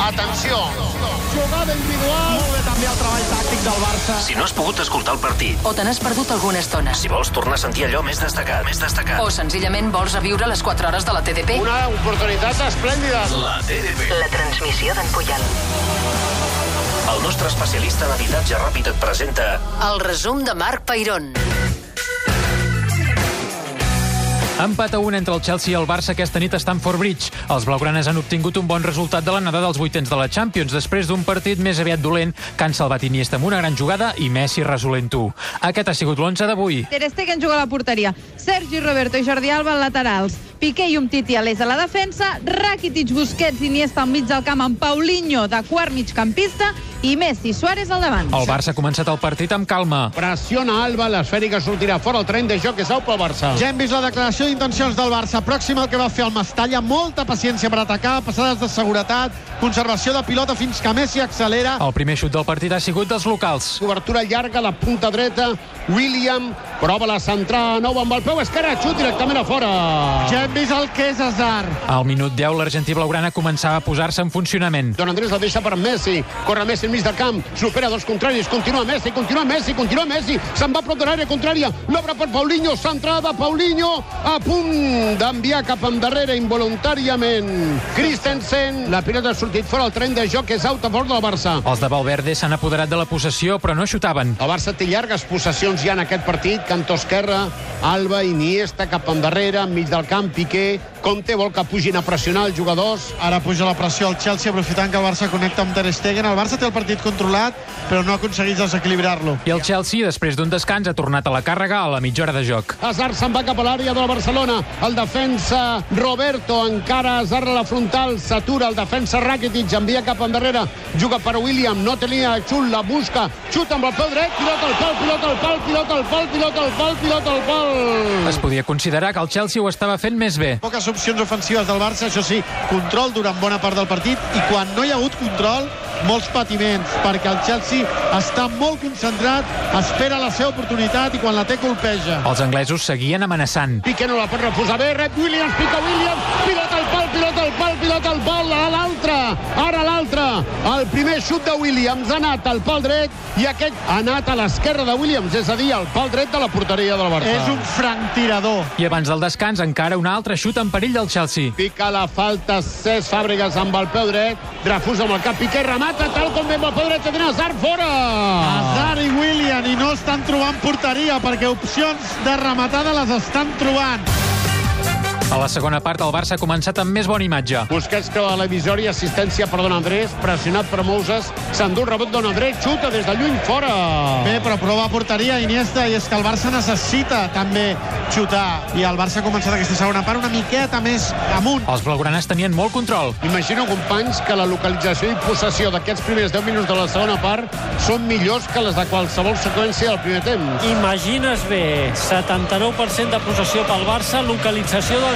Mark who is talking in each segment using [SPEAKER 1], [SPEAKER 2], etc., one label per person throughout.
[SPEAKER 1] Atenció!
[SPEAKER 2] Jugada individual. Molt bé també el treball tàctic del Barça.
[SPEAKER 3] Si no has pogut escoltar el partit,
[SPEAKER 4] o te n'has perdut alguna estona,
[SPEAKER 3] si vols tornar a sentir allò més destacat, més
[SPEAKER 4] o
[SPEAKER 3] destacat,
[SPEAKER 4] senzillament vols reviure les 4 hores de la TDP,
[SPEAKER 1] Una oportunitat esplèndida.
[SPEAKER 3] la TDP.
[SPEAKER 4] la transmissió d'en Puyal,
[SPEAKER 3] El nostre especialista en habitatge ràpid et presenta
[SPEAKER 4] el resum de Marc Peirón.
[SPEAKER 5] Empat a un entre el Chelsea i el Barça aquesta nit a Stamford Bridge. Els blaugranes han obtingut un bon resultat de l'anada dels vuitens de la Champions després d'un partit més aviat dolent que han salvat Iniesta amb una gran jugada i Messi resolent-ho. Aquest ha sigut l'11 d'avui.
[SPEAKER 6] Ter Stegen juga a la porteria. Sergi Roberto i Jordi Alba en laterals. Piqué i Umtiti a l'est a la defensa. Rakitic, Busquets i Iniesta al mig del camp amb Paulinho de quart migcampista i Messi Suárez al davant.
[SPEAKER 5] El Barça ha començat el partit amb calma.
[SPEAKER 1] Pressiona Alba, l'esfèrica sortirà fora el tren de joc és au pel Barça.
[SPEAKER 2] Ja hem vist la declaració d'intencions del Barça, pròxima al que va fer el Mestalla, molta paciència per atacar, passades de seguretat, conservació de pilota fins que Messi accelera.
[SPEAKER 5] El primer xut del partit ha sigut dels locals.
[SPEAKER 1] Cobertura llarga, la punta dreta, William prova la centrar nou amb el peu esquerre, xut directament a fora.
[SPEAKER 2] Ja hem vist el que és Hazard.
[SPEAKER 5] Al minut 10, l'argentí blaugrana començava a posar-se en funcionament.
[SPEAKER 1] Don Andrés la deixa per Messi, corre Messi enmig del camp, supera dos contraris, continua Messi, continua Messi, continua Messi, se'n va prop de l'àrea contrària, l'obre per Paulinho, centrada, Paulinho, a punt d'enviar cap endarrere involuntàriament. Christensen, la pilota ha sortit fora, el tren de joc és out a favor del Barça.
[SPEAKER 5] Els de Valverde s'han apoderat de la possessió, però no xutaven.
[SPEAKER 1] El Barça té llargues possessions ja en aquest partit. Cantó esquerra, Alba, Iniesta, cap endarrere, enmig del camp, Piqué. Conte vol que pugin a pressionar els jugadors.
[SPEAKER 2] Ara puja la pressió al Chelsea, aprofitant que el Barça connecta amb Ter Stegen. El Barça té el partit controlat, però no aconsegueix desequilibrar-lo.
[SPEAKER 5] I el Chelsea, després d'un descans, ha tornat a la càrrega a la mitja hora de joc.
[SPEAKER 1] Hazard se'n va cap a l'àrea del Barcelona. El defensa Roberto, encara Hazard a la frontal, s'atura. El defensa Rakitic envia cap endarrere. Juga per William, no tenia xut, la busca. Xut amb el peu dret, pilota al pal, pilota al pal, pilota al pal, pilota al pal, pilota al pal.
[SPEAKER 5] Es podia considerar que el Chelsea ho estava fent més bé.
[SPEAKER 2] Poques opcions ofensives del Barça, això sí, control durant bona part del partit i quan no hi ha hagut control, molts patiments, perquè el Chelsea està molt concentrat, espera la seva oportunitat i quan la té colpeja.
[SPEAKER 5] Els anglesos seguien amenaçant.
[SPEAKER 1] Piqué no la pot refusar bé, rep Williams, pica Williams, pilota el pal, pilota el pal, pilota el pal, a l'altre, ara l'altre. El primer xut de Williams ha anat al pal dret i aquest ha anat a l'esquerra de Williams, és a dir, al pal dret de la porteria del Barça.
[SPEAKER 2] És un franctirador.
[SPEAKER 5] I abans del descans, encara un altre xut en perill del Chelsea.
[SPEAKER 1] Pica la falta Cesc Fàbregas amb el peu dret, refusa amb el cap, Piqué remata tal com ve amb el peu dret, que tenen Hazard fora! Ah.
[SPEAKER 2] Hazard i William i no estan trobant porteria perquè opcions de rematada les estan trobant.
[SPEAKER 5] A la segona part, el Barça ha començat amb més bona imatge.
[SPEAKER 1] Busquets creu a la visòria, assistència per Don Andrés, pressionat per Moses, s'endú el rebot Don Andrés, xuta des de lluny, fora!
[SPEAKER 2] Bé, però prova porteria Iniesta i és que el Barça necessita també xutar i el Barça ha començat aquesta segona part una miqueta més amunt.
[SPEAKER 5] Els blaugranes tenien molt control.
[SPEAKER 1] Imagino, companys, que la localització i possessió d'aquests primers 10 minuts de la segona part són millors que les de qualsevol seqüència del primer temps.
[SPEAKER 7] Imagines bé, 79% de possessió pel Barça, localització del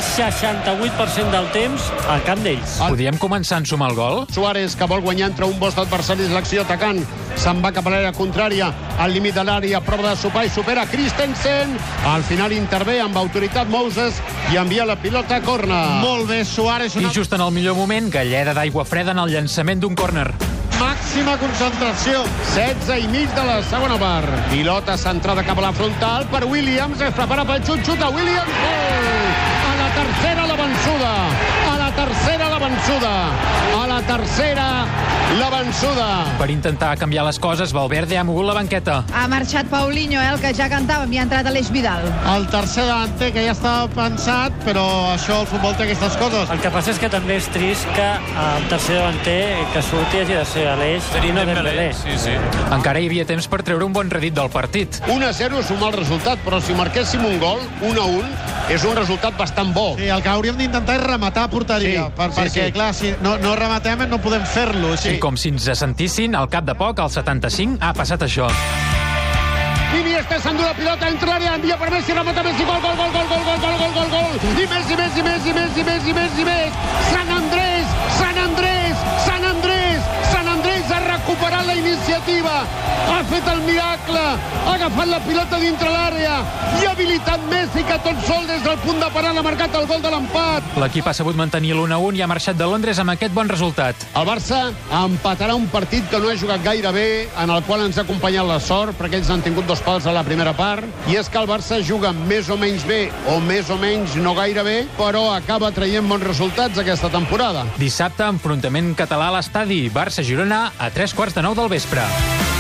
[SPEAKER 7] 68% del temps al camp d'ells.
[SPEAKER 5] Podíem començar a ensumar el gol?
[SPEAKER 1] Suárez, que vol guanyar entre un bosc d'adversaris l'acció atacant, se'n va cap a l'àrea contrària, al límit de l'àrea, prova de sopar i supera Christensen. Al final intervé amb autoritat Moses i envia la pilota a corna.
[SPEAKER 2] Molt bé, Suárez,
[SPEAKER 5] I
[SPEAKER 2] una
[SPEAKER 5] just en el millor moment, galleda d'aigua freda en el llançament d'un córner.
[SPEAKER 2] màxima concentració.
[SPEAKER 1] 16 i mig de la segona part. Pilota centrada cap a la frontal per Williams. Es prepara pel xut, xuta Williams. Gol! A la tercera la vençuda. A la tercera la vençuda. A la tercera la vençuda.
[SPEAKER 5] Per intentar canviar les coses, Valverde ha mogut la banqueta.
[SPEAKER 6] Ha marxat Paulinho, eh, el que ja cantàvem, i ha entrat Aleix Vidal.
[SPEAKER 2] El tercer davanter que ja estava pensat, però això, el futbol té aquestes coses.
[SPEAKER 7] El que passa és que també és trist que el tercer davanter que surti hagi de ser Aleix i no Dembélé. Sí.
[SPEAKER 5] Encara hi havia temps per treure un bon redit del partit.
[SPEAKER 1] 1-0 és un mal resultat, però si marquéssim un gol, 1-1, és un resultat bastant bo.
[SPEAKER 2] Sí, el que hauríem d'intentar és rematar a porteria,
[SPEAKER 1] Sí,
[SPEAKER 2] per,
[SPEAKER 1] sí,
[SPEAKER 2] perquè,
[SPEAKER 1] sí.
[SPEAKER 2] clar, si no, no rematem no podem fer-lo.
[SPEAKER 5] I
[SPEAKER 2] Sí.
[SPEAKER 5] com si ens sentissin, al cap de poc, al 75, ha passat això.
[SPEAKER 1] Iniesta s'endú la pilota, entra a l'àrea, envia per Messi, remata Messi, gol, gol, gol, gol, gol, gol, gol, gol, gol, gol, i Messi, Messi, Messi, Messi, Messi, Messi, més. Sant Andrés, Sant Andrés, Sant Andrés, Sant Andrés ha recuperat la iniciativa, ha ha fet el miracle, ha agafat la pilota dintre l'àrea i ha habilitat Messi que tot sol des del punt de parada ha marcat el gol de l'empat.
[SPEAKER 5] L'equip ha sabut mantenir l'1-1 i ha marxat de Londres amb aquest bon resultat.
[SPEAKER 1] El Barça empatarà un partit que no ha jugat gaire bé, en el qual ens ha acompanyat la sort, perquè ells han tingut dos pals a la primera part, i és que el Barça juga més o menys bé, o més o menys no gaire bé, però acaba traient bons resultats aquesta temporada.
[SPEAKER 5] Dissabte, enfrontament català a l'estadi. Barça-Girona a tres quarts de nou del vespre.